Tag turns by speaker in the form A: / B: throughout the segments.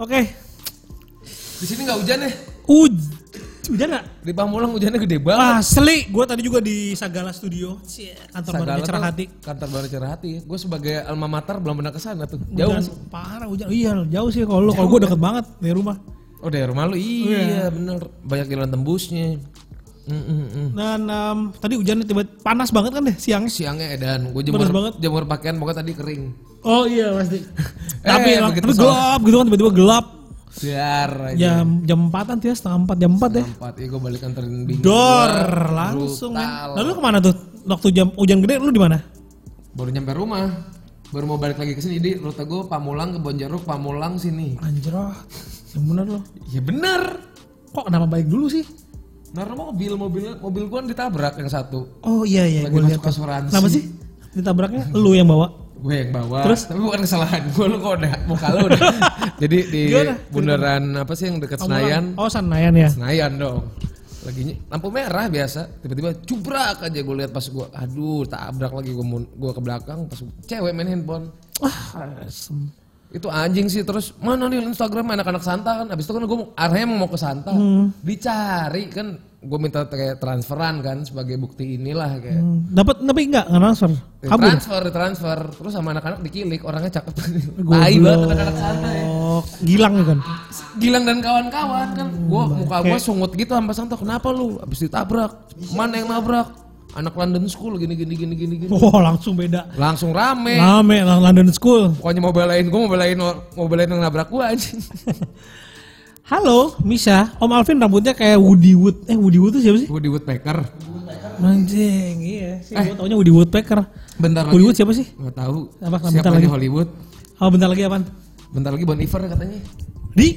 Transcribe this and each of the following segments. A: Oke.
B: Di sini nggak hujan ya?
A: Uj udah nggak?
B: Di Pamulang hujannya gede banget.
A: Asli, gue tadi juga di Sagala Studio, Cie, kantor
B: Sagala
A: barunya
B: tuh
A: Cerah Hati.
B: Kantor baru cerah hati. Gue sebagai alma mater belum pernah kesana tuh. Jauh.
A: Hujan,
B: nggak sih?
A: parah hujan. Iya, jauh ya? sih kalau lu. Kalau gue deket banget dari rumah.
B: Oh dari rumah lu? Iya bener. Banyak jalan tembusnya. Mm -mm -mm.
A: Dan em, tadi hujannya tiba panas banget kan deh siang.
B: Siangnya edan. Gue jemur,
A: Panas banget.
B: jemur pakaian pokoknya tadi kering.
A: Oh iya pasti. Tapi
B: Eh,
A: emang
B: begitu
A: terus
B: salah.
A: gelap gitu kan tiba-tiba gelap.
B: Siar aja.
A: Jam jam empatan tuh ya setengah empat jam empat ya.
B: Empat. Ya gue balik anterin
A: Iya,
B: bingung.
A: Dor langsung men. Lalu lu kemana tuh? Waktu jam hujan gede lu di mana?
B: Baru nyampe rumah. Baru mau balik lagi ke sini. Jadi rute gue Pamulang ke Bonjeruk, Pamulang sini.
A: Anjir oh. Yang bener lo.
B: Ya bener.
A: Kok kenapa balik dulu sih?
B: Karena mobil mobil mobil gue ditabrak yang satu.
A: Oh iya iya
B: Lagi
A: gue lihat.
B: masuk asuransi.
A: Kenapa sih? Ditabraknya lu yang bawa.
B: gue yang bawa terus tapi bukan kesalahan gue lu kok udah muka lu udah jadi di
A: Gimana?
B: bundaran apa sih yang dekat Senayan
A: Oh Senayan ya.
B: Senayan dong lagi ny- lampu merah biasa tiba-tiba cubrak aja gue lihat pas gue aduh tabrak lagi gue gue ke belakang pas cewek main handphone
A: Wah, Ah, asem.
B: itu anjing sih terus mana nih Instagram anak-anak Santa kan abis itu kan gue mau- arahnya emang mau ke Santa dicari kan gue minta kayak transferan kan sebagai bukti inilah kayak
A: Hmm, Dapat tapi enggak enggak transfer.
B: Ya,
A: Kabur.
B: transfer transfer terus sama anak-anak dikilik orangnya cakep tai banget anak-anak Santa ya
A: Oh, gilang ya kan.
B: Gilang dan kawan-kawan kan gua muka gua sungut gitu sampai santo kenapa lu habis ditabrak mana yang nabrak anak London School gini gini gini gini gini
A: Wah, langsung beda.
B: langsung rame
A: Rame lah London School.
B: pokoknya mau belain gua mau belain or- mau belain yang nabrak gua anjing
A: Halo, Misha. Om Alvin rambutnya kayak Woody Wood. Eh, Woody Wood itu siapa sih?
B: gua di Woodpecker
A: Anjing, iya. Sih, gua taunya Woody Woodpecker.
B: bentar
A: Woody
B: lagi
A: Wood siapa sih?
B: nggak tahu
A: Apa,
B: siapa
A: bentar
B: lagi
A: lagi.
B: Hollywood
A: Oh, bentar lagi apaan?
B: bentar lagi Bon Iver katanya
A: Di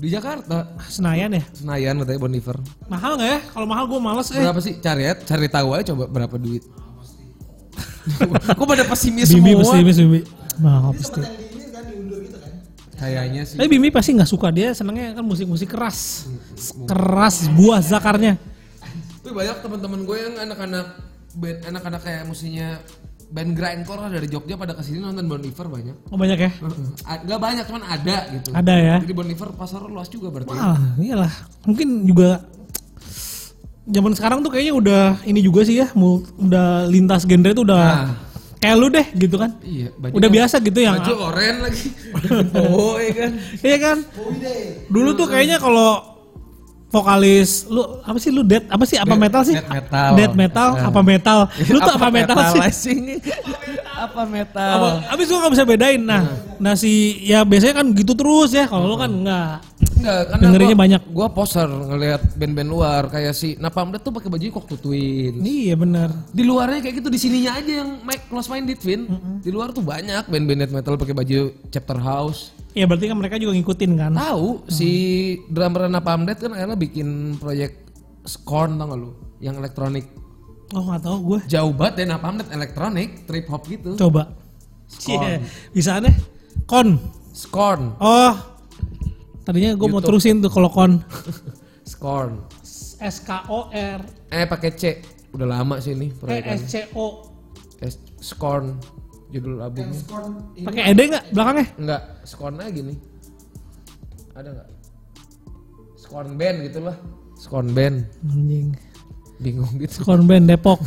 B: di Jakarta
A: Senayan ya?
B: Senayan katanya Bon Iver
A: Mahal nggak ya? Kalau mahal gue males eh.
B: berapa sih cari ya cari tahu aja coba berapa duit Kok pada pesimis
A: Bimbi
B: semua?
A: pasti, Bimbi, Bimbi. Mahal pasti.
B: Kayaknya sih.
A: Tapi Bimbi pasti nggak suka dia senengnya kan musik-musik keras, keras buah zakarnya.
B: Tapi banyak teman-teman gue yang anak-anak band anak-anak kayak musinya band grindcore lah dari Jogja pada kesini nonton Bon Iver banyak.
A: Oh banyak ya?
B: A- Nggak banyak cuman ada gitu.
A: Ada ya?
B: Jadi Bon Iver pasar luas juga berarti.
A: Ah, iyalah. Mungkin juga zaman sekarang tuh kayaknya udah ini juga sih ya, mu- udah lintas genre tuh udah
B: Nah.
A: kayak lu deh gitu kan.
B: Iya,
A: Udah biasa gitu yang
B: Baju oranye lagi. Oh, iya kan.
A: Iya kan? Dulu tuh kayaknya kalau vokalis lu apa sih lu dead apa sih apa
B: Death-
A: metal sih?
B: death metal.
A: Death metal
B: Eh.
A: apa metal? Lu tuh apa metal, sih?
B: Apa metal?
A: Apa, abis lu gak bisa bedain. Nah, nah si ya biasanya kan gitu terus ya. Kalau lu kan enggak.
B: Enggak, karena
A: Dengerinnya
B: gua,
A: banyak.
B: Gua poser ngelihat band-band luar kayak si Napalm Death tuh pakai baju kok tutuin.
A: Iya benar.
B: di luarnya kayak gitu di sininya aja yang Mike close minded Vin di luar tuh banyak band-band death metal pakai baju chapter house
A: Ya berarti kan mereka juga ngikutin kan.
B: tahu si drummer Napalm Death kan akhirnya bikin proyek Scorn tau gak lu yang elektronik
A: Oh nggak tahu gue.
B: jauh banget dari Napalm Death elektronik trip hop gitu
A: Coba. Cie, bisa aneh. Kon.
B: Scorn
A: Oh. Tadinya gue mau terusin tuh kalau kon.
B: Scorn
A: S K O R
B: eh pakai C udah lama sih ini
A: E S
B: proyekannya
A: C O.
B: S- Scorn judul albumnya
A: Pakai ed nggak belakangnya?
B: enggak Scorn aja gini ada nggak Scorn band gitu lah Scorn band
A: Anjing.
B: bingung gitu
A: Kon band Depok.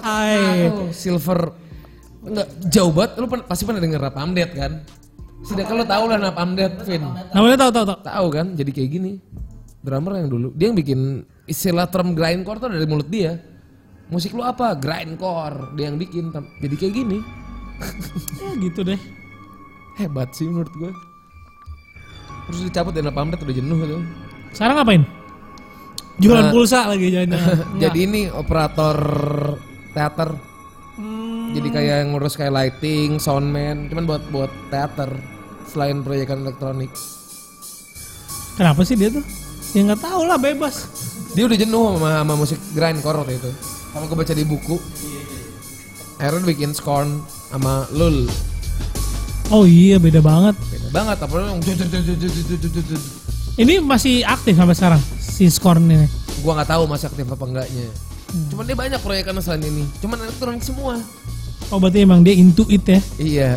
A: Hai.
B: Oh, silver enggak jauh banget lu pen- pasti pernah denger rap amdet kan sudah kalau tahu lah rap amdet Vin
A: Namanya tahu tahu tahu.
B: tahu kan jadi kayak gini drummer yang dulu dia yang bikin istilah term grindcore tuh dari mulut dia musik lu apa grindcore dia yang bikin Tam- jadi kayak gini
A: Ya, gitu deh.
B: hebat sih menurut gue terus dicabut dari rap amdet udah jenuh gitu
A: Sekarang ngapain? Jualan
B: Eh.
A: pulsa lagi jadinya.
B: jadi ini operator teater jadi kayak yang ngurus kayak lighting, soundman, cuman buat buat teater selain proyekan elektronik.
A: Kenapa sih dia tuh? Ya nggak tahu lah bebas.
B: Dia udah jenuh sama, sama musik grindcore waktu itu. Kalau gue baca di buku, Aaron bikin Scorn sama Lul.
A: Oh iya beda banget.
B: Beda banget, apalagi yang jut, jut, jut, jut, jut, jut, jut, jut, jut.
A: Ini masih aktif sampai sekarang si Scorn ini.
B: gua nggak tahu masih aktif apa enggaknya. Cuman dia banyak proyekan selain ini. Cuman elektronik semua.
A: Oh berarti emang dia into it ya.
B: Iya.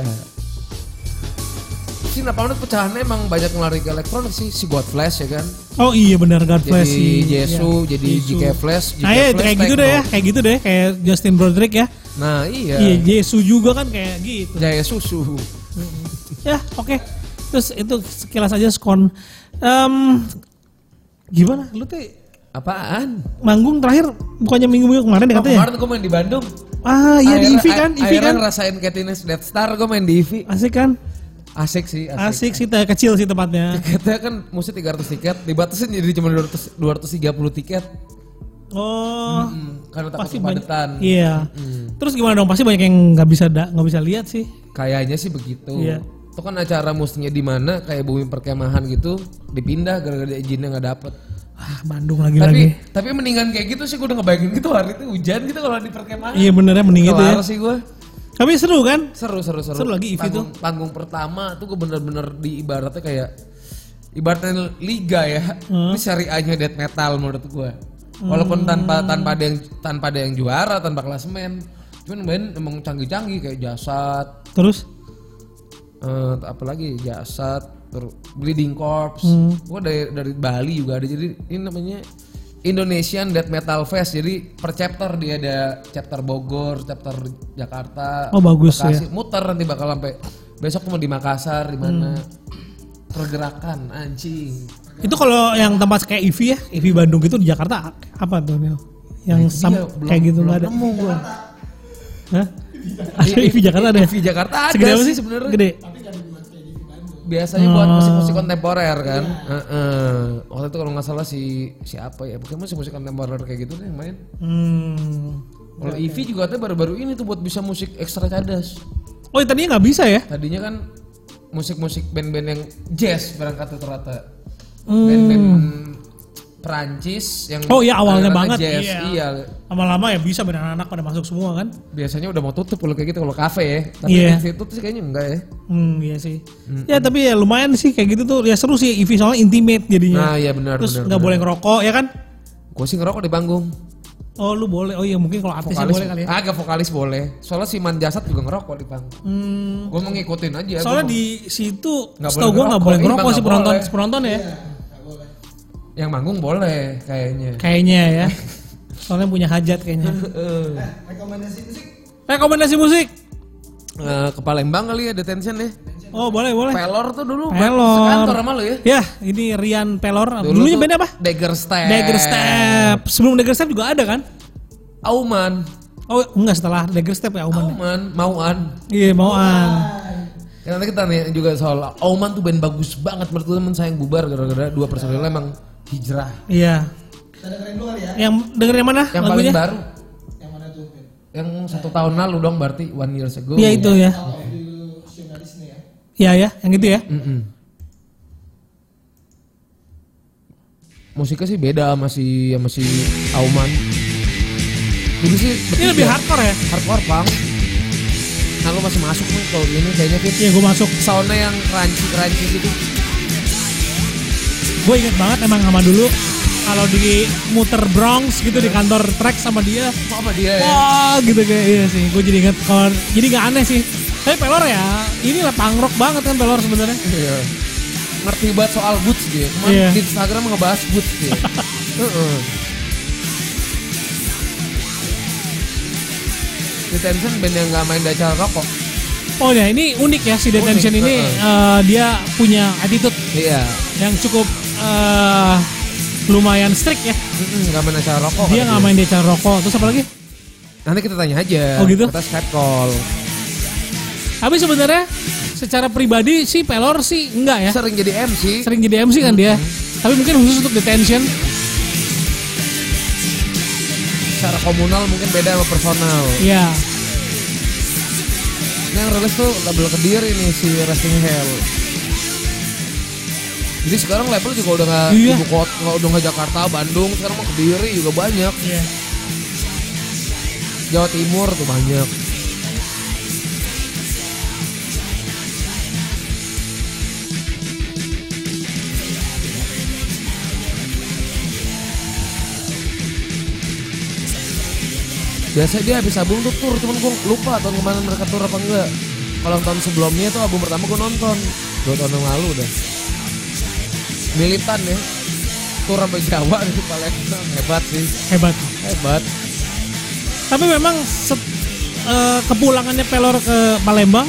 B: Si Napalm Death pecahannya emang banyak ngelari ke elektronik sih. Si God Flash ya kan.
A: Oh iya benar God Flash.
B: Jadi
A: iya.
B: Jesu, jadi
A: Jesu.
B: JK Flash, JK
A: Nah ya
B: Flash,
A: kayak gitu
B: techno.
A: deh ya, kayak gitu deh kayak Justin Broderick ya.
B: Nah iya.
A: Iya, Jesu juga kan kayak gitu.
B: Jaya susu.
A: Ya, oke. Terus itu sekilas aja skon. Em, gimana? Lu tuh
B: Apaan?
A: manggung terakhir bukannya minggu-minggu kemarin deh
B: Oh,
A: katanya?
B: kemarin gue main di Bandung.
A: Ah, ya? iya di
B: Akhirnya-
A: IVI kan, IVI
B: akhirnya
A: kan.
B: ngerasain Katniss Death Star gue main di IVI.
A: Asik kan?
B: Asik sih, asik.
A: Asik sih te- kecil sih tempatnya.
B: Tiketnya kan mesti 300 tiket, dibatasin jadi cuma 200, 230 tiket.
A: Oh,
B: Hmm, karena takut
A: pasti banyak.
B: kepadatan. Hmm.
A: Iya. Terus gimana dong? Pasti banyak yang nggak bisa da- nggak bisa lihat sih.
B: Kayaknya sih begitu.
A: Iya.
B: Itu kan acara mestinya di mana kayak bumi perkemahan gitu dipindah gara-gara izinnya nggak dapet.
A: Ah, Bandung
B: Tapi
A: lagi-lagi.
B: tapi mendingan kayak gitu sih gue udah ngebayangin gitu hari itu hujan gitu kalau di perkemahan.
A: Iya benernya mending itu ya.
B: Kelar sih gue.
A: Tapi seru kan?
B: Seru seru seru.
A: Seru lagi, Ivi
B: panggung, panggung pertama tuh gue bener-bener di ibaratnya kayak ibaratnya liga ya.
A: Hmm.
B: Ini syariahnya death metal menurut gue. Walaupun tanpa tanpa ada yang tanpa ada yang juara, tanpa klasemen. Cuman main emang canggih-canggih kayak jasad,
A: Terus
B: eh apalagi jasad, terus bleeding corpse.
A: Hmm.
B: Gue dari dari Bali juga ada. Jadi ini namanya Indonesian Death Metal Fest. Jadi per chapter dia ada chapter Bogor, chapter Jakarta.
A: Oh, bagus
B: Bekasi. Muter nanti bakal sampai besok mau di Makassar di mana.
A: Hmm.
B: Pergerakan anjing.
A: itu kalau yang tempat kayak IVI ya, IVI Bandung itu di Jakarta apa tuh Nel? Yang sam-
B: Iya, belum-
A: kayak gitu
B: belum
A: nggak ada.
B: Nemu gua.
A: Hah? Ada IVI Jakarta ada. ya?
B: Di E Jakarta ada
A: Segede apa
B: sih
A: sih
B: sebenarnya.
A: Gede. Oh.
B: biasanya buat musik-musik kontemporer kan. Heeh. Waktu itu kalau nggak salah si siapa ya, pokoknya musik-musik kontemporer kayak gitu deh yang main.
A: Hmm.
B: Kalau Ivi juga katanya baru-baru ini tuh buat bisa musik ekstra cadas.
A: Oh, tadinya nggak bisa ya?
B: Tadinya kan musik-musik band-band yang jazz berangkat tuh ternyata. Band-band Perancis yang
A: Hmm. Oh, iya, awalnya banget,
B: alirannya jazz.
A: iya.
B: Iya.
A: Lama-lama ya bisa benar anak pada masuk semua kan?
B: Biasanya udah mau tutup kalau kayak gitu kalau kafe ya. Tapi
A: Iya.
B: di situ tuh sih kayaknya enggak ya.
A: Hmm, iya sih. Ya tapi ya lumayan sih kayak gitu tuh. Ya seru sih IVI soalnya intimate jadinya.
B: Nah, iya benar
A: Terus
B: benar.
A: nggak boleh ngerokok ya kan?
B: Gue sih ngerokok di panggung.
A: Oh, lu boleh. Oh iya, mungkin kalau artis ya boleh kali ya.
B: Agak vokalis Ah. boleh. Soalnya si Manjasat juga ngerokok di panggung.
A: Hmm.
B: Gue mau ngikutin aja.
A: Soalnya
B: Ya, gua mau-
A: di situ
B: Nggak
A: setahu gua
B: boleh
A: nggak
B: ngerokok.
A: boleh
B: Iya,
A: ngerokok
B: nggak
A: sih penonton
B: boleh. Iya.
A: penonton ya.
B: yang manggung boleh kayaknya. Eh,
A: Kayaknya ya. Soalnya punya hajat kayaknya.
B: Hmm. Heeh.
A: Rekomendasi musik.
B: Eh, ke Palembang kali ya detention ya.
A: Oh, boleh, boleh.
B: Pelor tuh dulu.
A: Pelor.
B: Kantor sama lu ya.
A: Ya, ini Rian Pelor.
B: Dulu
A: Dulunya
B: tuh Eh.
A: band apa?
B: Dagger Step.
A: Dagger Step. Sebelum Dagger Step juga ada kan?
B: Auman.
A: Oh, enggak setelah Dagger Step ya Auman.
B: Auman. Mauan.
A: Iya, mauan.
B: Ya, nanti kita nanya juga soal Auman tuh band bagus banget menurut gue temen saya yang bubar gara-gara dua personilnya emang hijrah.
A: Iya. Yang dengerin yang mana
B: Yang
A: lagunya?
B: paling baru. Yang mana tuh? Yang satu tahun lalu dong berarti one years ago.
A: Iya itu ya. Iya ya, yang itu ya.
B: Mm-mm. Musiknya sih beda sama si sama si Auman. Dulu sih
A: Ini
B: bertiga.
A: lebih hardcore ya.
B: hardcore pang. Nah lu masih masuk nih kalau ini kayaknya fit.
A: Iya, gue masuk.
B: Soundnya yang crunchy crunchy gitu.
A: Gue inget banget emang sama dulu kalau di muter Bronx gitu di kantor track sama dia.
B: Apa sama dia ya?
A: Wah, gitu kayak iya sih. Gue jadi inget kalau jadi gak aneh sih. Tapi Pelor ya, inilah pangrok banget kan Pelor sebenarnya.
B: Iya. Ngerti banget soal boots dia. Kemarin
A: Iya.
B: di Instagram ngebahas boots dia. Heeh. Detention band yang gak main di acara rokok.
A: Oh ya, ini unik ya si Detention
B: Unik,
A: ini eh, dia punya attitude
B: Iya.
A: yang cukup eh, lumayan strict ya.
B: Mm-mm, Gak main acara rokok.
A: Dia
B: kata
A: nggak main decan rokok. Terus apa lagi?
B: Nanti kita tanya aja.
A: Oh, gitu?
B: Kita Skype call.
A: Tapi sebenarnya secara pribadi sih Pelor sih enggak ya.
B: Sering jadi MC.
A: Sering jadi MC kan dia. Tapi mungkin khusus untuk detention.
B: Secara komunal mungkin beda sama personal.
A: Ya.
B: Ini Nah, yang rilis tuh label kediri nih si Resting Hell. Jadi sekarang label juga udah nggak
A: Iya.
B: ibu kota, nggak- udah nggak Jakarta, Bandung. Sekarang mau kediri juga banyak.
A: Iya.
B: Jawa Timur tuh banyak. Biasa dia habis album tuh tour, cuman gue lupa tahun kemarin mereka tour apa enggak. Kalau tahun sebelumnya tuh album pertama gue nonton dua tahun yang lalu udah. Militan ya, tour sampai Jawa di Palembang hebat sih,
A: Hebat.
B: hebat.
A: Tapi memang set- eh, kepulangannya Pelor ke Palembang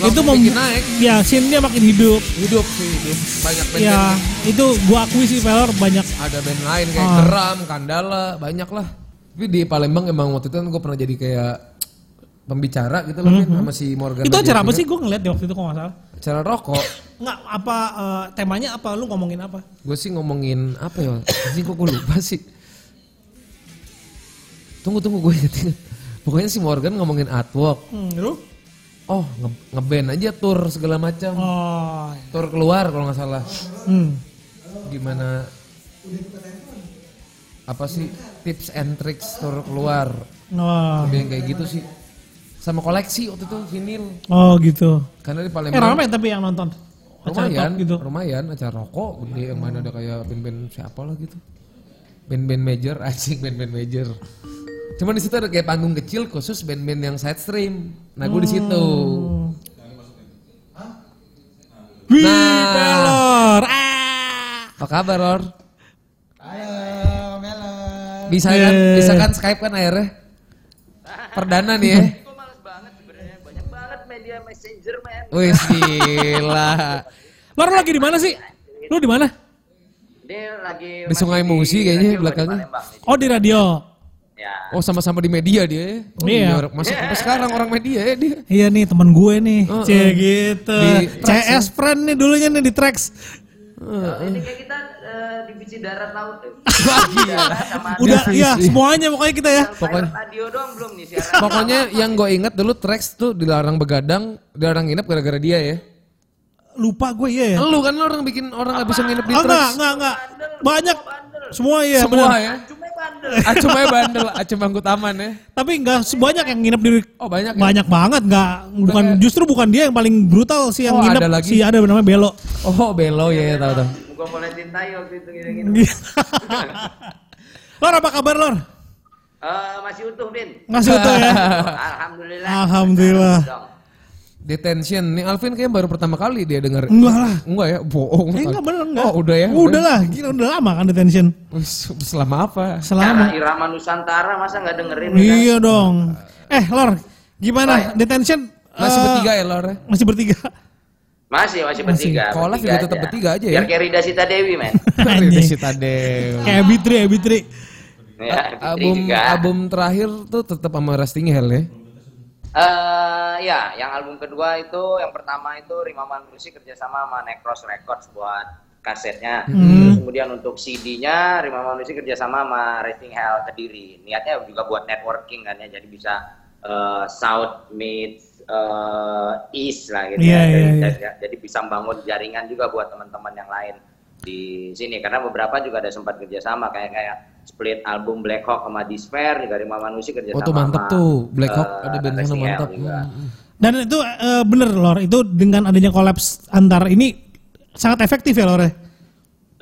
A: itu mem
B: bikin naik.
A: ya scene-nya makin hidup.
B: Hidup sih, hidup. Banyak band,
A: Ya, itu gua akui sih Pelor banyak
B: ada band lain kayak
A: Ah.
B: Geram, Kandala, banyak lah. Tapi di Palembang emang waktu itu kan gue pernah jadi kayak pembicara gitu loh Min, sama si Morgan.
A: Mhm. itu acara apa
B: Nadia.
A: sih gue ngeliat di waktu itu kok nggak salah
B: Acara rokok.
A: nggak apa eh, temanya apa lu ngomongin apa
B: Gue sih ngomongin apa ya? Anjing kok gue lupa sih. Tunggu tunggu gue inget inget. Pokoknya si Morgan ngomongin artwork.
A: hmm, lu
B: Oh nge ngeband aja tour segala macam.
A: oh
B: Tour keluar kalau nggak salah.
A: hmm.
B: Gimana? Apa sih tips and tricks tour keluar?
A: oh
B: Lebih yang kayak gitu sih. Sama koleksi waktu itu vinil.
A: oh gitu
B: Karena di
A: eh
B: Palembang
A: ramai tapi yang nonton Acara
B: lumayan,
A: top gitu
B: lumayan acara rokok gede yang mana ada kayak band-band siapa lah gitu. Band-band major, asik band-band major. Cuman di situ ada kayak panggung kecil khusus band-band yang side stream. Nah, gue di situ.
A: Oh. wih
B: Nah.
A: pelor ah
B: Apa kabar, Lor?
C: Ayo, Melo.
B: Bisa kan,
A: Yeah.
B: bisa kan Skype kan akhirnya? Perdana nih ya.
D: Gue males banget sebenarnya banyak banget media messenger men
B: Wih, gila.
A: lor lu lagi di mana sih lu di mana
D: dia lagi
B: Di Sungai
D: masih
B: Musi
D: di
B: kayaknya
D: radio di
B: belakangnya.
D: Palembang nih.
A: oh di radio
D: ya
B: Oh, sama-sama di media dia ya. Oh,
A: Iya.
B: orang- Masuk sampai sekarang orang media ya dia.
A: Iya nih teman gue nih,
B: Heeh.
A: Cie gitu.
B: Oh, Di Trax,
A: CS friend nih dulunya nih di Trax.
D: ini kayak kita eh, di biji darat laut eh.
B: Wah,
D: sama
A: Udah
B: Ada
A: ya
B: sih.
A: semuanya pokoknya kita ya.
B: Pokoknya-
D: pokoknya radio doang belum nih siaran
B: Pokoknya yang gue inget dulu Trax tuh dilarang begadang, dilarang nginep gara-gara dia ya.
A: Lupa gue iya ya.
B: Lu kan lu orang bikin orang gak bisa nginep di
A: Oh, enggak,
B: Trax.
A: enggak, enggak. Banyak. Semua ya.
B: Semua
A: benar.
B: ya.
D: cuma bandel
B: Acem aja bandel, acem angkut taman ya.
A: Tapi enggak sebanyak yang nginep di
B: Oh banyak ya?
A: banyak banget enggak bukan justru bukan dia yang paling brutal sih yang
B: Oh,
A: nginep
B: ada lagi.
A: si ada namanya Belo.
B: Oh belo ya, ya tau tau.
D: gue mulai cintai waktu itu gini gini
A: Lor apa kabar Lor?
D: Eh, masih utuh bin
A: Masih utuh ya.
D: alhamdulillah
A: Alhamdulillah.
D: Dong.
B: Detention nih Alvin kayaknya baru pertama kali dia denger.
A: Enggak lah.
B: Enggak ya, bohong.
A: Eh, enggak bener enggak.
B: Oh udah ya.
A: Udah lah, gila udah lama kan detention.
B: Wis, Selama apa?
D: Karena
A: Selama.
D: irama Nusantara masa nggak dengerin ya kan?
A: Iya dong. Eh Lor, gimana detention?
B: Masih
A: eh,
B: bertiga ya Lor?
A: Masih bertiga.
D: Masih, masih
B: Masih.
D: bertiga.
B: Kalau live
D: bertiga
B: juga tetap bertiga aja ya.
D: Biar kayak Rida Sita Dewi, men.
B: Dari si Tadeo.
A: Kayak Bitri, ya Bitri.
D: ya, Fitri
B: Album
D: juga.
B: album terakhir tuh tetap sama Rusting Hell ya.
D: Eh, ya, yang album kedua itu, yang pertama itu Rimaman Musik kerjasama sama Necros Records buat kasetnya.
A: Hmm.
D: Kemudian untuk CD-nya Rimaman Musik kerjasama sama Racing Hell Kediri. Niatnya juga buat networking kan ya, jadi bisa eh, South meets eh, East lah gitu.
A: Iya,
D: ya.
A: iya,
D: Jadi-
A: iya.
D: ya. Jadi bisa membangun jaringan juga buat teman-teman yang lain di sini karena beberapa juga ada sempat kerjasama kayak kayak split album Black Hawk sama Despair juga Rima Manusi
B: Oh
D: kerjasama.
B: tuh mantep
D: sama,
B: tuh. Black Hawk
D: eh,
B: ada band sana
D: Racing Hell
B: mantep.
D: juga.
B: Hmm.
A: Dan itu eh, bener Lor, itu dengan adanya kolaps antar ini sangat efektif ya Lor. ya?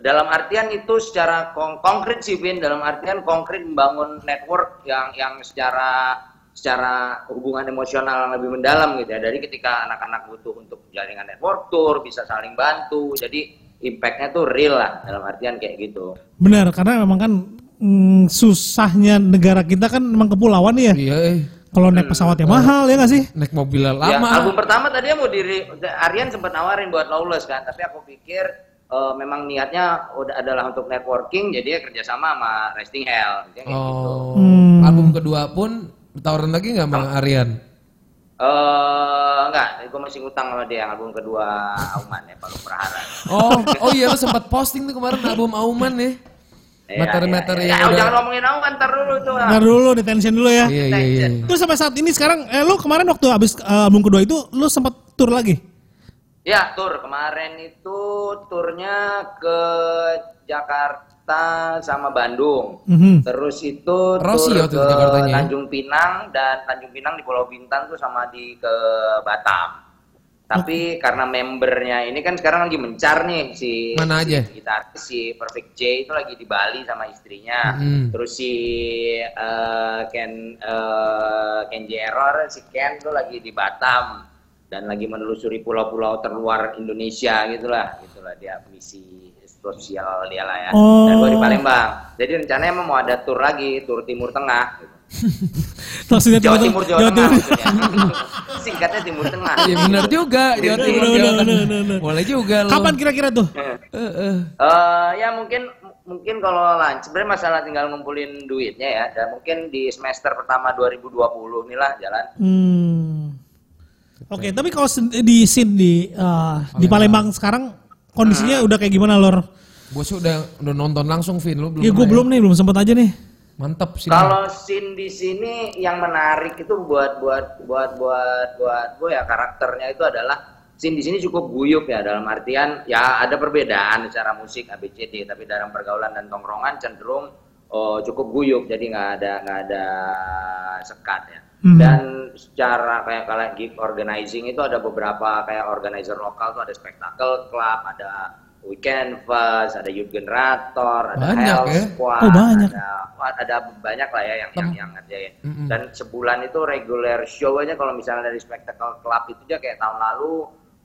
D: Dalam artian itu secara kong- konkret sih Bin, dalam artian konkret membangun network yang yang secara secara hubungan emosional yang lebih mendalam gitu ya. Dari ketika anak-anak butuh untuk jaringan network tour bisa saling bantu. Jadi impact-nya tuh real lah dalam artian kayak gitu.
A: Benar, karena memang kan mm, susahnya negara kita kan memang kepulauan nih ya.
B: Iya, eh.
A: Kalau naik pesawat ya
D: Iya.
A: mahal ya nggak sih?
B: naik mobil lama.
D: Ya, album pertama tadinya mau diri Aryan sempat nawarin buat Lawless kan, tapi aku pikir eh, memang niatnya udah adalah untuk networking, jadi ya kerjasama sama Resting Hell. Dia kayak gitu.
B: Oh,
A: Hmm.
B: album kedua pun tawaran lagi nggak sama Aryan?
D: Eh, enggak, gue masih ngutang sama dia yang album kedua Auman ya, Palu Prahara.
B: Oh, oh iya lu sempat posting tuh kemarin album Auman ya.
D: Iya,
B: Materi-materi
D: iya, iya.
B: yang
D: Ya,
B: udah-
D: jangan ngomongin Auman ntar dulu tuh.
A: Ntar dulu detention dulu ya.
B: Iya iya iya.
A: Terus sampai saat ini sekarang, eh lu kemarin waktu habis eh, album kedua itu lu sempat tur lagi?
D: Ya, tur kemarin itu turnya ke Jakarta sama Bandung.
A: Mhm.
D: Terus itu
B: Rossi
D: tur
B: waktu itu
D: ke
B: Jakartanya ya?
D: Tanjung Pinang dan Tanjung Pinang di Pulau Bintang tuh sama di ke Batam. Tapi karena membernya ini kan sekarang lagi mencar nih si
B: Mana
D: si
B: aja?
D: gitaris si Perfect J itu lagi di Bali sama istrinya.
B: Mm.
D: Terus si eh, Ken eh, Ken J. Error si Ken tuh lagi di Batam dan lagi menelusuri pulau-pulau terluar Indonesia gitulah gitulah dia misi sosial dia lah ya dan gue di
A: Oh.
D: Palembang jadi rencananya emang mau ada tour lagi tour Timur Tengah gitu.
A: Maksudnya
D: Jawa Timur Jawa, Tengah
A: Timur.
D: maksudnya. singkatnya Timur Tengah
B: Iya benar juga, Jawa
A: bener,
B: Timur. Jawa
A: bener,
B: Tengah.
A: bener, bener.
B: Boleh juga lo.
A: Kapan kira-kira tuh?
B: Eh, eh.
D: Eh, ya mungkin mungkin kalau lancar sebenarnya masalah tinggal ngumpulin duitnya ya dan mungkin di semester pertama 2020 inilah jalan
A: Hmm. Oke, tapi kalau sen- di scene di
D: Oh,
A: uh, di
D: iya.
A: Palembang sekarang
D: Eh.
A: kondisinya udah kayak gimana lor?
B: Gue sih udah, udah nonton langsung, Vin. Lu belum
A: ya gue
B: pernah
A: belum nih, belum sempat aja nih.
B: Mantep sih.
D: Kalau scene di sini yang menarik itu buat buat buat buat buat gue ya karakternya itu adalah scene di sini cukup guyup ya dalam artian ya ada perbedaan secara musik ABCD tapi dalam pergaulan dan tongkrongan cenderung oh, cukup guyup jadi nggak ada nggak ada sekat ya.
A: Hmm.
D: Dan secara kayak kayak gig organizing itu ada beberapa kayak organizer lokal tuh ada spektakel club ada weekend fest ada youth generator ada
B: Banyak
D: Hell
B: ya.
D: Squad,
A: Oh, banyak.
D: ada wah, ada banyak lah ya yang yang, yang ngerjain.
B: Mm-mm.
D: Dan sebulan itu reguler show aja kalau misalnya dari spectacle club itu aja kayak tahun lalu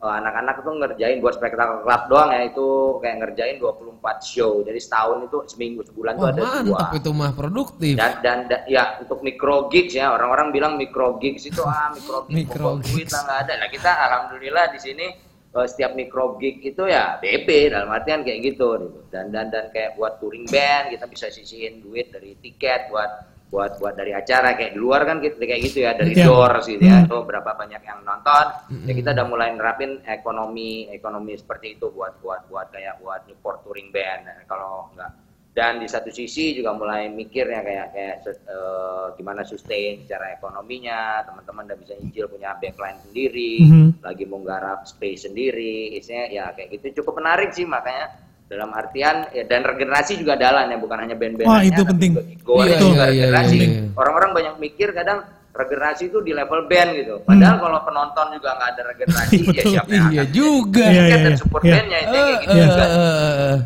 D: eh, anak-anak tuh ngerjain buat spectacle club doang ya itu kayak ngerjain 24 show. Jadi setahun itu seminggu sebulan tuh
B: Wah,
D: ada
B: mantep
D: dua.
B: itu mah produktif.
D: Dan, dan da- ya untuk micro gigs ya orang-orang bilang micro gigs itu ah micro gigs
B: Micro
D: pokok duit
B: gigs.
D: lah nggak ada. Nah kita alhamdulillah di sini eh, setiap micro gig itu ya BP dalam artian kayak gitu gitu. Dan dan dan kayak buat touring band kita bisa sisihin duit dari tiket buat buat buat dari acara kayak di luar kan gitu kayak gitu ya dari
A: Iya.
D: doors gitu
B: Hmm.
D: ya tuh berapa banyak yang nonton ya kita udah mulai nerapin ekonomi ekonomi seperti itu buat buat buat kayak buat support touring band Nah, kalau enggak dan di satu sisi juga mulai mikirnya kayak kayak eh, gimana sustain secara ekonominya teman-teman udah bisa injil punya backline sendiri
B: Hmm.
A: Mhm.
D: lagi menggarap space sendiri isinya ya kayak gitu cukup menarik sih makanya dalam artian ya, dan regenerasi juga dalan ya bukan hanya band-band
A: Wah, itu penting.
D: Goa
B: Iya,
D: itu juga
B: iya, iya,
D: regenerasi.
B: iya, iya.
D: Orang-orang banyak mikir kadang regenerasi itu di level band gitu. Padahal kalau penonton juga nggak ada regenerasi, ya
A: Hmm. Betul.
D: siapa
B: Iya
D: yang akan
B: juga.
A: Iya,
D: tiket
A: iya,
D: dan
A: iya.
D: support
A: Iya.
D: bandnya itu kayak
B: Eh,
D: gitu
B: eh,
D: juga.
B: eh, eh.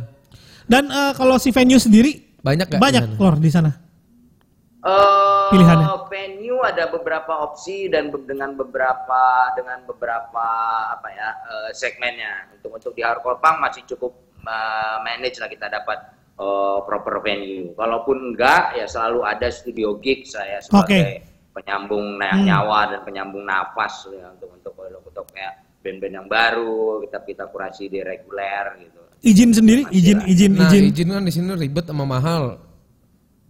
A: Dan eh, kalau si venue sendiri
B: Banyak gak?
A: banyak
B: di sana?
A: lor di sana.
D: Eh,
A: Pilihannya.
D: venue ada beberapa opsi dan be- dengan beberapa dengan beberapa apa ya eh, segmennya untuk untuk di hardcore punk masih cukup eh, manage lah kita dapat eh, proper venue kalaupun enggak ya selalu ada studio gig saya sebagai penyambung na- nyawa dan penyambung nafas ya, untuk untuk untuk kayak band-band yang baru kita kita kurasi di reguler gitu
A: Izin sendiri, izin, izin,
B: Nah,
A: izin.
B: izin. kan di sini ribet sama mahal.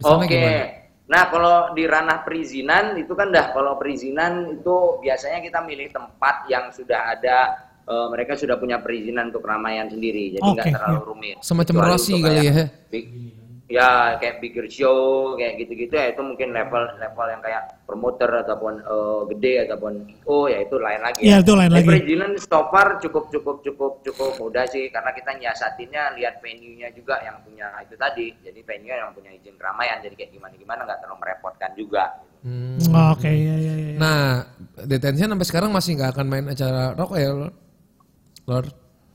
B: Di sana
D: Oke.
B: gimana?
D: Nah, kalau di ranah perizinan itu kan dah kalau perizinan itu biasanya kita milih tempat yang sudah ada eh, mereka sudah punya perizinan untuk keramaian sendiri. Jadi nggak
A: Oke,
D: terlalu rumit.
B: iya. Semacam
D: Kecuali
B: Rossi
D: untuk
B: kali
D: kayak
B: ya.
D: big- ya kayak bigger show kayak gitu-gitu ya itu mungkin level level yang kayak promoter ataupun eh, gede ataupun oh ya itu lain lagi.
A: Iya, itu lain
D: Tapi
A: lagi.
D: perizinan so far cukup cukup cukup cukup mudah sih karena kita nyiasatinnya lihat venue-nya juga yang punya itu tadi. Jadi venue yang punya izin keramaian jadi kayak gimana gimana nggak terlalu merepotkan juga.
B: Hmm.
A: Oh, Oke, ya, ya, ya.
B: Nah, detention sampai sekarang masih nggak akan main acara rock ya, Lor? Lor?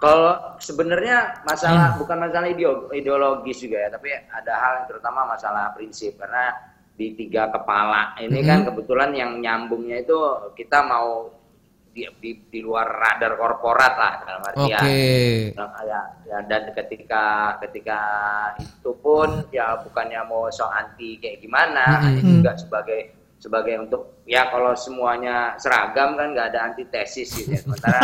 D: Kalau sebenarnya masalah bukan masalah ideo- ideologis juga ya, tapi ada hal yang terutama masalah prinsip karena di tiga kepala ini kan kebetulan yang nyambungnya itu kita mau di, di, di luar radar korporat lah dalam
B: Oke.
D: artian Nah, ya, ya, dan ketika ketika itu pun ya bukannya mau so anti kayak gimana ini juga sebagai sebagai untuk ya kalau semuanya seragam kan nggak ada antitesis gitu ya sementara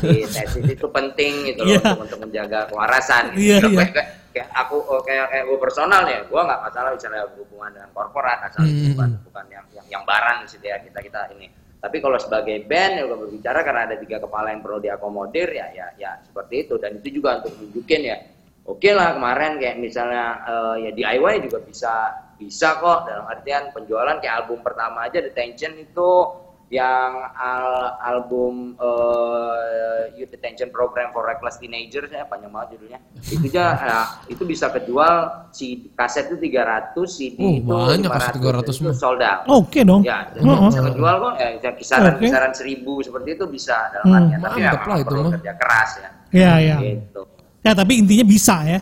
D: antitesis itu penting gitu loh
A: Iya.
D: untuk, untuk menjaga kewarasan
A: Iya,
D: gitu.
A: iya.
D: Kalau kayak- kayak, kayak aku oh, kayak kayak gue personal ya gue nggak masalah misalnya hubungan dengan korporat asal itu bukan
B: Hmm.
D: bukan yang yang, yang barang gitu ya kita kita ini tapi kalau sebagai band yang berbicara karena ada tiga kepala yang perlu diakomodir ya ya ya seperti itu dan itu juga untuk nunjukin ya oke lah kemarin kayak misalnya eh, ya DIY juga bisa bisa kok dalam artian penjualan kayak album pertama aja Detention itu yang al- album eh, Youth Detention Program for Reckless Teenagers ya panjang banget judulnya itu aja nah, itu bisa kejual si kaset itu 300 CD
B: Oh,
D: itu
B: banyak kaset
D: 500 itu
B: 300 mah.
D: sold out
A: Oke
B: Oh.
A: dong.
D: ya jadi
A: Heeh.
D: bisa kejual kok ya bisa kisaran
A: Oke.
D: kisaran seribu seperti itu bisa dalam
A: Hmm.
D: artian tapi ya
B: Mantep lah
D: memang
B: itu
D: perlu
B: mah.
D: kerja keras ya
A: Iya, iya.
D: gitu
A: Ya tapi intinya bisa ya.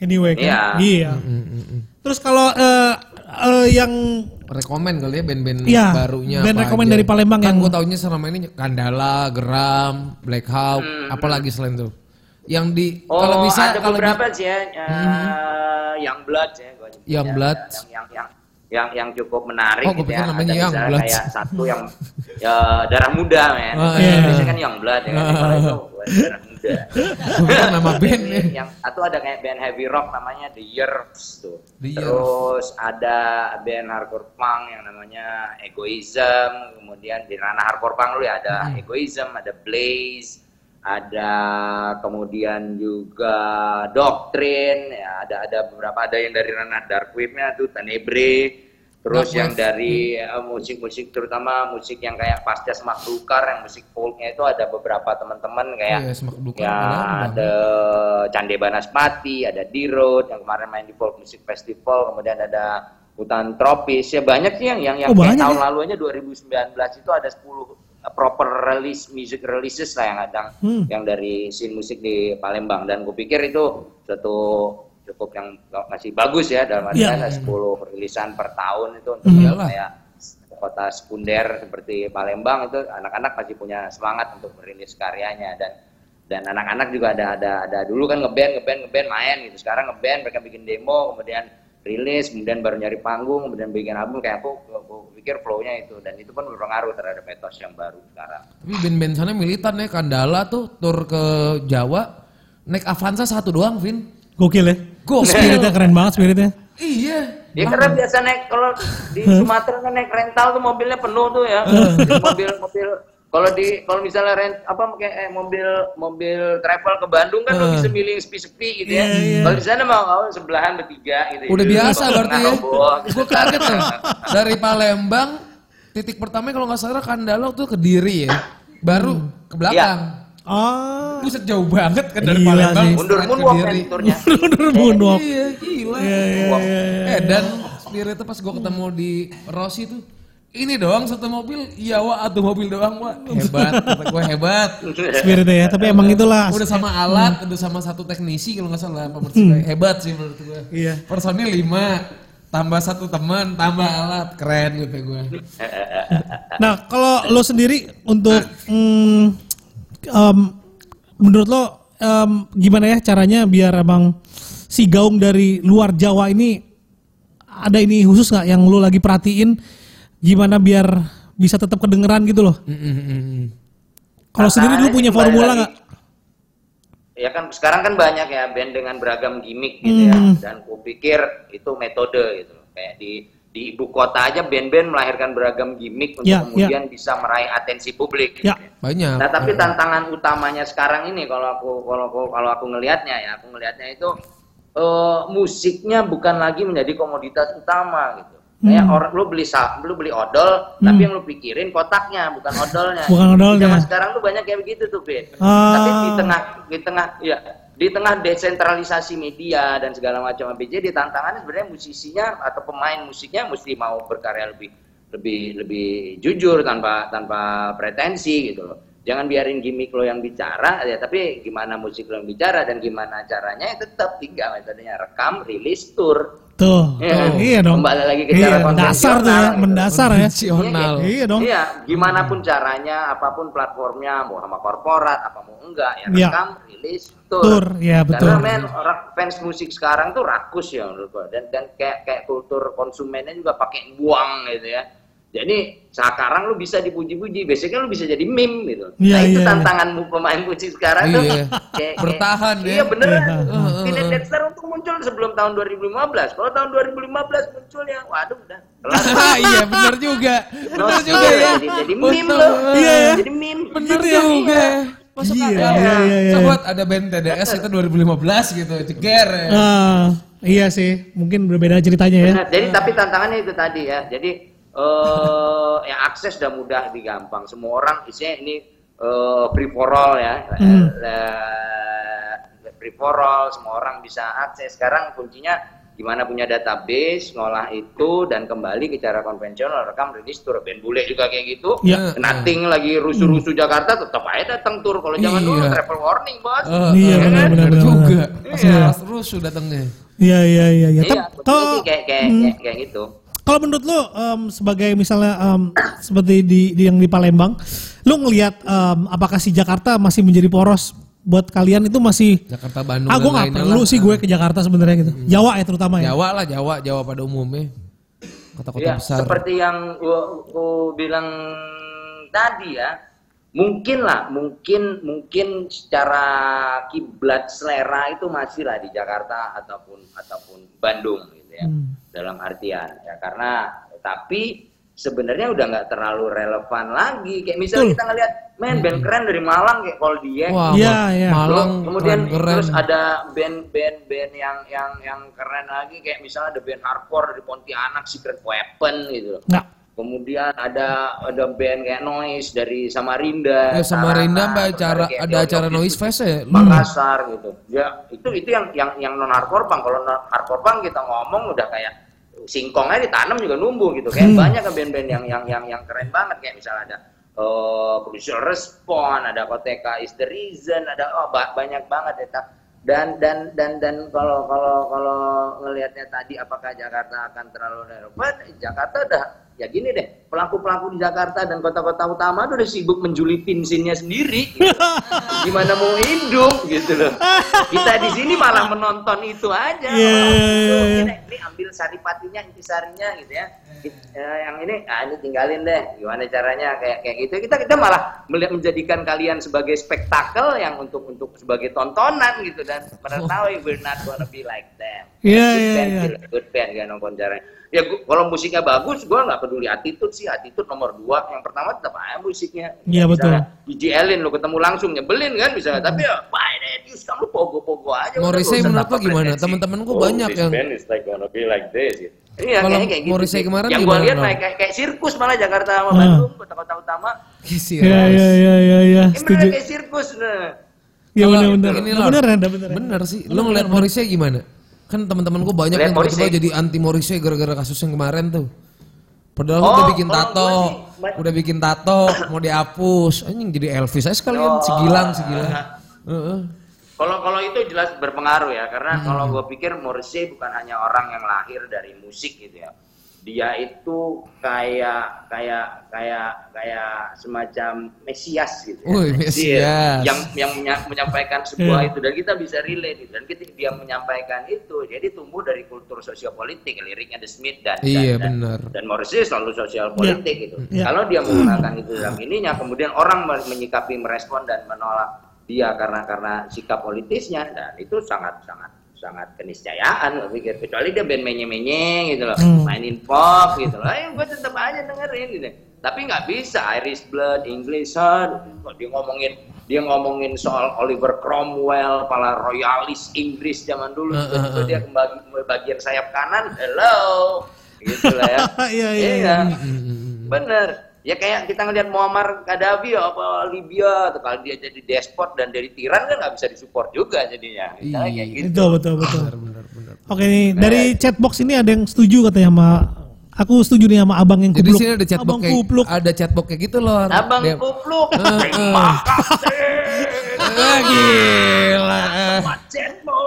A: Anyway kan. Iya.
D: Iya.
A: Terus kalau eh, eh, yang
B: rekomen kali ya band-band
A: Iya,
B: barunya
A: band
B: apa
A: rekomen
B: aja.
A: dari Palembang
B: kan
A: yang-
B: gue taunya selama ini Kandala, Geram, Black Hawk, apalagi selain itu yang di
D: Hmm. Oh,
B: kalau bisa
D: ada
B: kalau
D: beberapa
B: di-
D: sih ya, eh, yang blood ya, gua nyebutnya.
B: Young Blood.
D: Yang, yang yang yang yang cukup menarik
B: Oh, gua
D: gitu
B: pikir
D: ya.
B: namanya
D: Ada
B: Young
D: misalnya
B: Blood.
D: Kayak satu yang ya, darah muda men.
B: Oh, iya.
A: iya.
D: Biasanya kan yang blood ya. kan. Kalau itu gua darah muda.
B: Gua pikir nama band ya.
D: Ini yang satu ada kayak band heavy rock namanya The Yerbs tuh.
B: The
D: Terus ada band hardcore punk yang namanya Egoism, kemudian di ranah hardcore punk dulu ya
B: Hmm.
D: ada Egoism, ada Blaze, ada kemudian juga Doctrine, ya ada ada beberapa ada yang dari ranah dark wave-nya tuh Tenebre,
B: Dark
D: terus yang
B: wave.
D: dari eh, musik-musik terutama musik yang kayak pasca semak belukar yang musik folknya itu ada beberapa teman-teman kayak
B: Iya, Semak Belukar,
D: ya
B: ada-
D: ada Cande Banaspati, ada D Road yang kemarin main di Folk Music Festival, kemudian ada Hutan Tropis. Ya banyak sih yang yang, yang
A: Oh,
D: kayak
A: banyak
D: tahun
A: ya?
D: lalu aja 2019 itu ada 10 proper release music releases lah yang ada
A: Hmm.
D: yang dari scene musik di Palembang dan gue pikir itu suatu cukup yang masih bagus ya dalam
A: Iya.
D: artian ada 10 perilisan per tahun itu untuk
A: Hmm.
D: yang
B: Iyalah.
D: kayak kota sekunder seperti Palembang itu anak-anak masih punya semangat untuk merilis karyanya dan dan anak-anak juga ada ada ada dulu kan ngeband ngeband ngeband main gitu sekarang ngeband mereka bikin demo kemudian rilis kemudian baru nyari panggung kemudian bikin album kayak aku aku pikir flow-nya itu dan itu pun berpengaruh terhadap etos yang baru sekarang
B: tapi band-band sana militan ya Kandala tuh tur ke Jawa naik Avanza satu doang Vin
A: gokil ya.
B: Gokil.
A: Spiritnya keren banget spiritnya.
B: iya
D: Ya karena biasa naik kalau di Sumatera kan naik rental tuh mobilnya penuh tuh ya. mobil mobil kalau di kalau misalnya rent apa kayak eh, mobil mobil travel ke Bandung kan lo bisa milih yang sepi-sepi gitu ya. Kalau di sana mau mau sebelahan bertiga gitu.
B: Iya, udah
D: Gitu.
B: biasa
D: Kalau
B: berarti
D: tengah
B: ya
D: roboh, gitu.
B: gue kaget ya dari Palembang titik pertama kalau nggak salah Kandala tuh ke diri ya baru ke belakang
A: Ah.
B: Buset jauh banget kan dari
A: Gila
B: Palembang.
A: sih.
D: Mundur
B: straight ke
D: moonwalk
B: Diri.
D: kan turnya.
A: Mundur moonwalk.
B: Iya, gila. Eh dan spirit tuh pas gua ketemu di Rossi tuh ini doang satu mobil, iya wa atau mobil doang wa hebat, kata gua hebat.
A: Spiritnya ya, tapi emang itulah.
B: Udah sama alat, udah sama satu teknisi kalau nggak salah pembersih hebat sih menurut gua.
A: Iya.
B: Personil lima, tambah satu teman, tambah alat, keren gitu gua.
A: Nah, kalau lo sendiri untuk mm, em, menurut lo em, gimana ya caranya biar abang si gaung dari luar Jawa ini ada ini khusus nggak yang lo lagi perhatiin gimana biar bisa tetap kedengeran gitu loh?
B: Mm, mm, mm, mm.
A: Kalau sendiri lo
D: Tantangannya
A: punya
D: sih Ah, kembali
A: formula
D: lagi.
A: nggak?
D: Ya kan sekarang kan banyak ya band dengan beragam gimmick gitu ya.
B: Hmm.
D: Dan kupikir itu metode gitu. Kayak di di ibu kota aja band-band melahirkan beragam gimmick untuk
A: Ya,
D: kemudian bisa meraih atensi publik.
A: Ya.
B: Banyak.
D: Nah, tapi tantangan utamanya sekarang ini kalau aku kalau aku kalau aku ngelihatnya ya, aku ngelihatnya itu eh, musiknya bukan lagi menjadi komoditas utama gitu. Kayak
A: Hmm.
D: orang lu beli sa- lu beli odol, tapi yang lu pikirin kotaknya bukan odolnya.
A: Bukan odolnya.
D: Zaman sekarang tuh banyak kayak begitu tuh, Fit.
A: Ah.
D: Tapi di tengah di tengah ya di tengah desentralisasi media dan segala macam ABJ di tantangannya sebenarnya musisinya atau pemain musiknya mesti mau berkarya lebih lebih lebih jujur tanpa tanpa pretensi gitu loh. Jangan biarin gimmick lo yang bicara ya, tapi gimana musik lo yang bicara dan gimana caranya ya tetap tiga metodenya rekam, rilis, tur.
A: Tuh,
D: Iya.
A: tuh, iya dong.
D: Kembali lagi ke cara
A: Iya, dasar tuh ya,
D: konvensional gitu.
A: mendasar ya.
B: Konvensional.
A: Iya dong. Hmm.
D: Iya, gimana pun caranya, apapun platformnya, mau sama korporat, apa mau enggak, ya
A: Iya.
D: rekam, rilis, tour.
A: Tur, ya betul.
D: Karena men, orang fans musik sekarang tuh rakus ya menurut gua. Dan, dan kayak kayak kultur konsumennya juga pakai buang gitu ya. Jadi sekarang lu bisa dipuji-puji, basicnya lu bisa jadi meme gitu. nah
A: Iya,
D: itu
A: iya,
D: tantanganmu pemain musik sekarang tuh.
B: Iya.
D: kayak-
B: Bertahan
D: kayak-
B: ya.
D: Iya beneran.
A: Iya.
D: Pindah Dexter untuk muncul sebelum tahun 2015. Kalau tahun 2015 muncul ya, waduh udah. kelar.
B: iya benar juga. Benar
D: Nostalgia,
B: juga ya.
D: Jadi, jadi meme
B: Untung,
D: lo.
A: Iya ya.
D: Jadi meme.
B: Bener
D: Gitu ya.
B: juga. Masuk
A: Iya,
B: akal.
A: iya, iya, iya.
B: Coba ada band TDS itu 2015 gitu, ceger ya.
A: Ah, iya sih, Nah, mungkin berbeda ceritanya ya.
D: Benar. Jadi tapi tantangannya itu tadi ya. Jadi eh ya akses udah mudah digampang semua orang isinya ini eh free for all ya
A: Hmm.
D: Eh, free for all semua orang bisa akses sekarang kuncinya gimana punya database ngolah itu dan kembali ke cara konvensional rekam rilis tur band bule juga kayak gitu
A: Ya.
D: nothing lagi rusuh-rusuh Jakarta tetap aja datang tur kalau zaman dulu
B: Hmm. Iya.
D: travel warning bos Ya
B: Eh,
D: kan?
A: Iya,
B: eh,
A: benar, benar, benar,
B: juga.
D: benar.
B: Masih
D: Iya.
B: malas terus sudah datangnya.
A: Iya iya iya iya.
D: iya
A: Tapi
D: betul
A: kalau
D: sih, kayak kayak
A: hmm,
D: kayak, kayak gitu
A: kalau menurut lo em, sebagai misalnya em, seperti di, di- yang di Palembang, lo ngelihat em, apakah si Jakarta masih menjadi poros buat kalian itu masih
B: Jakarta Bandung
A: ah gue nggak
B: lainnya
A: perlu
B: lah. Hmm.
A: sih gue ke Jakarta sebenarnya gitu. Jawa ya terutama ya.
B: Jawa lah, Jawa, Jawa pada umumnya. Kota-kota
D: Iya,
B: besar.
D: seperti yang gua, gua bilang tadi ya, mungkin lah, mungkin mungkin secara kiblat selera itu masih lah di Jakarta ataupun ataupun Bandung gitu ya, dalam artian ya karena tapi sebenarnya udah nggak terlalu relevan lagi kayak misalnya
A: Betul.
D: kita ngelihat men band keren dari Malang kayak Koldiek
B: Wah,
A: Iya,
B: Ma-
A: iya.
B: Malang
D: Terus kemudian
B: keren.
D: terus ada band-band band yang yang yang keren lagi kayak misalnya ada band hardcore dari Pontianak Secret Weapon gitu loh.
A: Nggak.
D: Kemudian ada ada band kayak Noise dari Samarinda.
B: Ya, Samarinda
D: Sarana,
B: mbak
D: terus
B: acara
D: kayak gitu.
B: ada
D: Dewa
B: acara
D: Jogja,
B: noise fest ya. Lu-
D: Makassar gitu. Ya itu itu yang yang yang non hardcore bang. Kalau non hardcore bang kita ngomong udah kayak singkongnya ditanam juga numbuh gitu. Kayak banyak kan band-band yang yang yang yang keren banget kayak misalnya ada eh Crucial Response, ada Koteka Is the Reason, ada oh, ba- banyak banget ya. Ta- Dan dan dan dan kalau kalau kalau ngelihatnya tadi apakah Jakarta akan terlalu relevan? Jakarta udah ya gini deh pelaku-pelaku di Jakarta dan kota-kota utama tuh udah sibuk menjulitin sinnya sendiri gitu gimana mau hidup gitu loh. Kita di sini malah menonton itu aja.
A: Iya,
D: Malah
A: iya, iya,
D: hidup.
A: iya.
D: Ini, ini ambil saripatinya, intisarinya gitu ya. Eh, yang ini, ah ini tinggalin deh. Gimana caranya kayak kayak gitu. Kita kita malah melihat menjadikan kalian sebagai spektakel yang untuk untuk sebagai tontonan gitu dan mengetahui we're not gonna be like them.
A: Iya,
D: Good
A: iya,
D: band,
A: iya.
D: Gila, good band gak nonton caranya. Ya gua- kalau musiknya bagus, gua nggak peduli attitude sih. Attitude nomor dua. Yang pertama tetap aja musiknya.
A: Iya, betul.
D: DJLin lu ketemu langsung nyebelin kan bisa tapi ya by that use kamu pogo-pogo aja udah,
B: Hmm. Morrissey
D: nggak usah
B: menurut lu
D: tanpa
B: gimana?
D: pretensi.
B: Temen-temen
D: Oh,
B: gua banyak yang-
E: This band is like gonna be like this. gitu.
D: Iya,
B: Kalau
D: kayaknya kayak gitu.
B: Morrissey
D: sih.
B: kemarin
D: yang gua
B: gimana,
D: lihat
B: Bang?
D: kayak, kayak kayak sirkus malah Jakarta sama
A: Hmm.
D: Bandung kota-kota utama.
B: Kisi,
A: Iya
B: Ras.
A: iya iya iya iya.
D: Ini mereka
A: Setuju.
D: kayak sirkus nah.
A: Iya
B: Kalau
A: benar-benar.
B: ini, Lord.
A: Benar ada benar.
B: Bener sih. Lu ngeliat Morrissey gimana? Kan teman-teman gua banyak
D: Ngeliat
B: yang tiba-tiba
D: Morrissey.
B: jadi anti Morrissey gara-gara kasus yang kemarin tuh. Padahal
D: Oh,
B: udah bikin
D: kalau
B: tato,
D: gua sih, ba-
B: udah bikin tato, mau dihapus. Anjing jadi Elvis aja
D: Oh.
B: sekalian, segilang, segilang. Heeh.
D: Kalau kalau itu jelas berpengaruh ya, karena
B: Hmm.
D: kalau gue pikir Morrissey bukan hanya orang yang lahir dari musik gitu ya. Dia itu kayak kayak kayak kayak semacam mesias gitu. Ya.
B: Wih, Mesias. Hmm.
D: Yang yang menya- menyampaikan sebuah itu dan kita bisa relate gitu. dan ketika dia menyampaikan itu, jadi tumbuh dari kultur sosiopolitik liriknya The Smith dan
B: Iya,
D: dan-
B: benar.
D: dan Morrissey selalu sosial politik gitu.
A: Iya.
D: Kalau dia menggunakan itu dalam ininya, kemudian orang men- menyikapi, merespon dan menolak dia karena karena sikap politisnya dan itu sangat sangat sangat keniscayaan gue pikir kecuali dia band menye-menye gitu loh
A: Hmm.
D: mainin pop gitu loh ayo gue tetap aja dengerin gitu tapi nggak bisa Irish Blood English Heart kok dia ngomongin dia ngomongin soal Oliver Cromwell para royalis Inggris zaman
B: Eh,
D: dulu
B: eh,
D: itu
B: eh.
D: dia kembali bagian sayap kanan hello gitu lah ya
A: Iya, iya,
B: Mm,
A: iya.
D: Bener. Ya kayak kita ngelihat Muammar Gaddafi ya, apa Libya tuh kalau dia jadi despot dan dari tiran kan nggak bisa disupport juga jadinya.
B: Iya.
D: Misalnya kayak gitu.
A: Itu betul betul. Oke nih dari chatbox ini ada yang setuju katanya sama aku setuju nih sama abang yang
B: Jadi
A: kupluk.
B: sini ada chatbox
A: abang
B: kayak
A: kupluk.
B: ada chatbox kayak gitu loh.
D: Abang
B: Dia-
D: kupluk.
B: Eh,
D: Terima kasih.
B: Ah, gila.
D: Macetmu.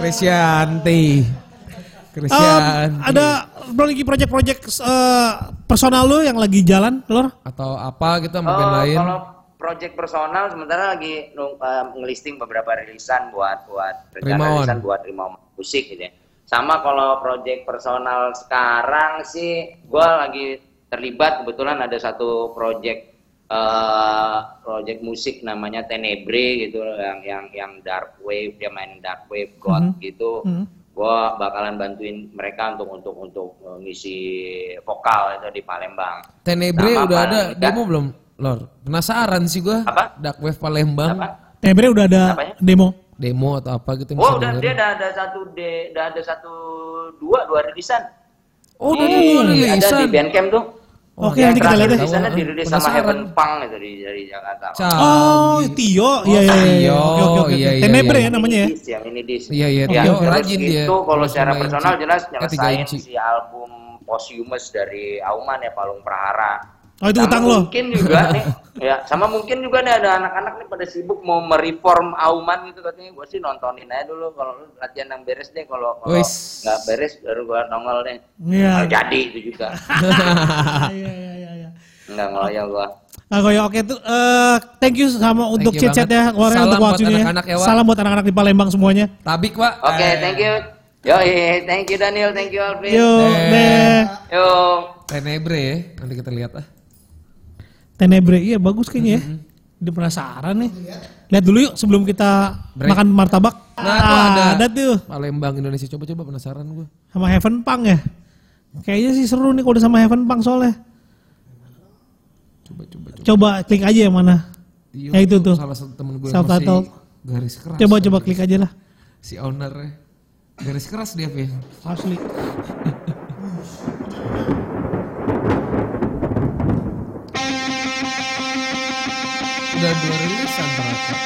B: Krisyanti.
A: Um,
B: Krisyanti.
A: ada belum lagi project-project eh, personal lo yang lagi jalan, Lor?
B: atau apa gitu sama band
D: Oh,
B: lain.
D: kalau project personal sementara lagi nung- eh, ngelisting beberapa rilisan buat buat
B: Rimawan.
D: rilisan buat Rimawan musik gitu ya. Sama kalau project personal sekarang sih gua lagi terlibat kebetulan ada satu project eh project musik namanya Tenebre gitu loh, yang yang yang dark wave dia main dark wave god gitu. Gua bakalan bantuin mereka untuk untuk untuk eh, ngisi vokal itu di Palembang.
B: Tenebre
D: Sama
B: udah ada
D: Palembang.
B: demo belum? Lor, penasaran sih gua.
D: Apa?
B: Dark Wave Palembang.
D: Apa?
A: Tebre Eh, udah ada
D: Apanya?
A: demo.
B: Demo atau apa gitu yang
D: Oh,
B: bisa
D: udah
B: dengerin.
D: dia udah ada satu D, udah ada satu dua dua rilisan.
B: Oh, udah dulu
D: Iya, ada di
B: rilisan.
D: Bandcamp tuh.
A: Oke,
D: Yang
A: nanti kita lihat
D: terakhir
A: deh.
D: Di sana
B: Tahu,
D: dirilis sama
B: penasaran.
D: Heaven Punk gitu di dari Jakarta.
B: Cah.
A: Oh, Tio. Iya, iya, iya.
B: Tio.
A: Oke, oke, oke.
B: Iya, iya,
A: Tenebre
B: iya.
A: ya namanya ya.
D: Mini disc ya, mini disc.
B: Iya, iya,
D: Ya,
B: Tio
D: terus
B: rajin dia.
D: itu kalau secara
B: 25 inci.
D: personal jelas
B: Eh, 3
D: nyelesain
B: inci.
D: si album posthumous dari Auman ya Palung Prahara.
A: Oh, itu utang lo.
D: Mungkin juga nih, ya sama mungkin juga nih ada anak-anak nih pada sibuk mau mereform auman gitu katanya. Gue sih nontonin aja dulu kalau lu latihan yang beres deh kalau kalau
B: Wis.
D: nggak beres baru gue nongol deh.
A: Iya.
D: Nggak jadi itu juga
A: Ah, Iya, iya, iya, iya.
D: nggak ngeloyal gue.
A: Nah, Goyo, oke tuh eh, thank you sama untuk
B: you
A: chat-chat ya,
B: banget.
A: Warren
B: Salam
A: untuk
B: buat
A: waktunya. ya.
B: anak-anak ya, Wak.
A: Salam buat anak-anak di Palembang semuanya.
B: Tabik, Pak. Eh,
D: Oke, thank you. Yo, thank you Daniel, thank you Alvin.
A: Yo, deh.
D: Yo.
B: Tenebre ya. Nanti kita lihat ah.
A: Tenebre, iya bagus kayaknya
B: Mm-hmm.
A: ya. Udah penasaran nih. Lihat dulu yuk sebelum kita
B: Break.
A: makan martabak. Ah,
B: Nah, tuh ada.
A: tuh
B: Palembang Indonesia coba-coba penasaran gue.
A: sama Heaven Punk ya. Kayaknya sih seru nih kalau udah sama Heaven Punk soalnya.
B: Coba-coba. coba.
A: Coba klik aja yang mana.
B: Iya,
A: Ya, itu tuh.
B: Salah satu temen gue yang
A: Subtitle.
B: masih garis keras.
A: Coba coba klik aja lah.
B: Si ownernya. Garis keras dia, Vin.
A: Asli.
B: Udah dua rilisan ternyata.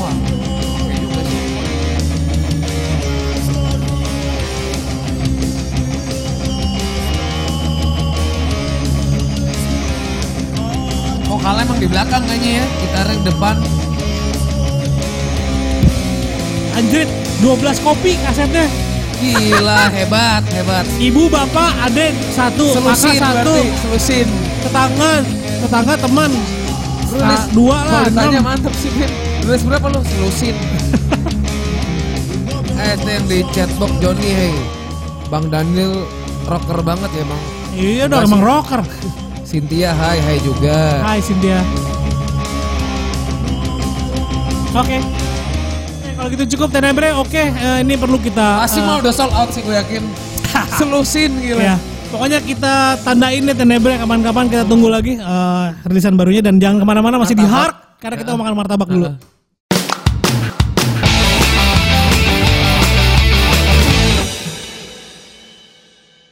B: Wah, oke juga sih. Oh, kalah emang di belakang kayaknya ya. Gitarnya di depan.
A: Anjrit, 12 kopi kasetnya.
B: Gila, hebat, hebat.
A: Ibu, bapak, adik satu, kakak
B: Selusin
A: satu,
B: berarti, selusin.
A: tetangga, tetangga teman.
B: Lu
A: Nah,
B: nulis
A: dua lah,
B: Kalau ditanya
A: enam.
B: Ah, mantep sih, Vin. Nulis berapa lu? Selusin. eh, itu yang di chatbox Johnny, hey. Bang Daniel rocker banget ya, Bang.
A: Iya dong, emang rocker.
B: Cynthia, hai, hai juga.
A: Hai Cynthia. Oke. Eh, Kalau gitu cukup Tenebre, oke. eh, ini perlu kita
B: Pasti
A: eh,
B: mau udah sold out sih gue yakin. Selusin gila.
A: Ya. Pokoknya kita tandain deh Tenebre kapan-kapan kita tunggu lagi eh, rilisan barunya dan jangan kemana-mana masih di
B: Martabak. Ya.
A: Hark karena kita mau makan martabak dulu.
B: Heeh.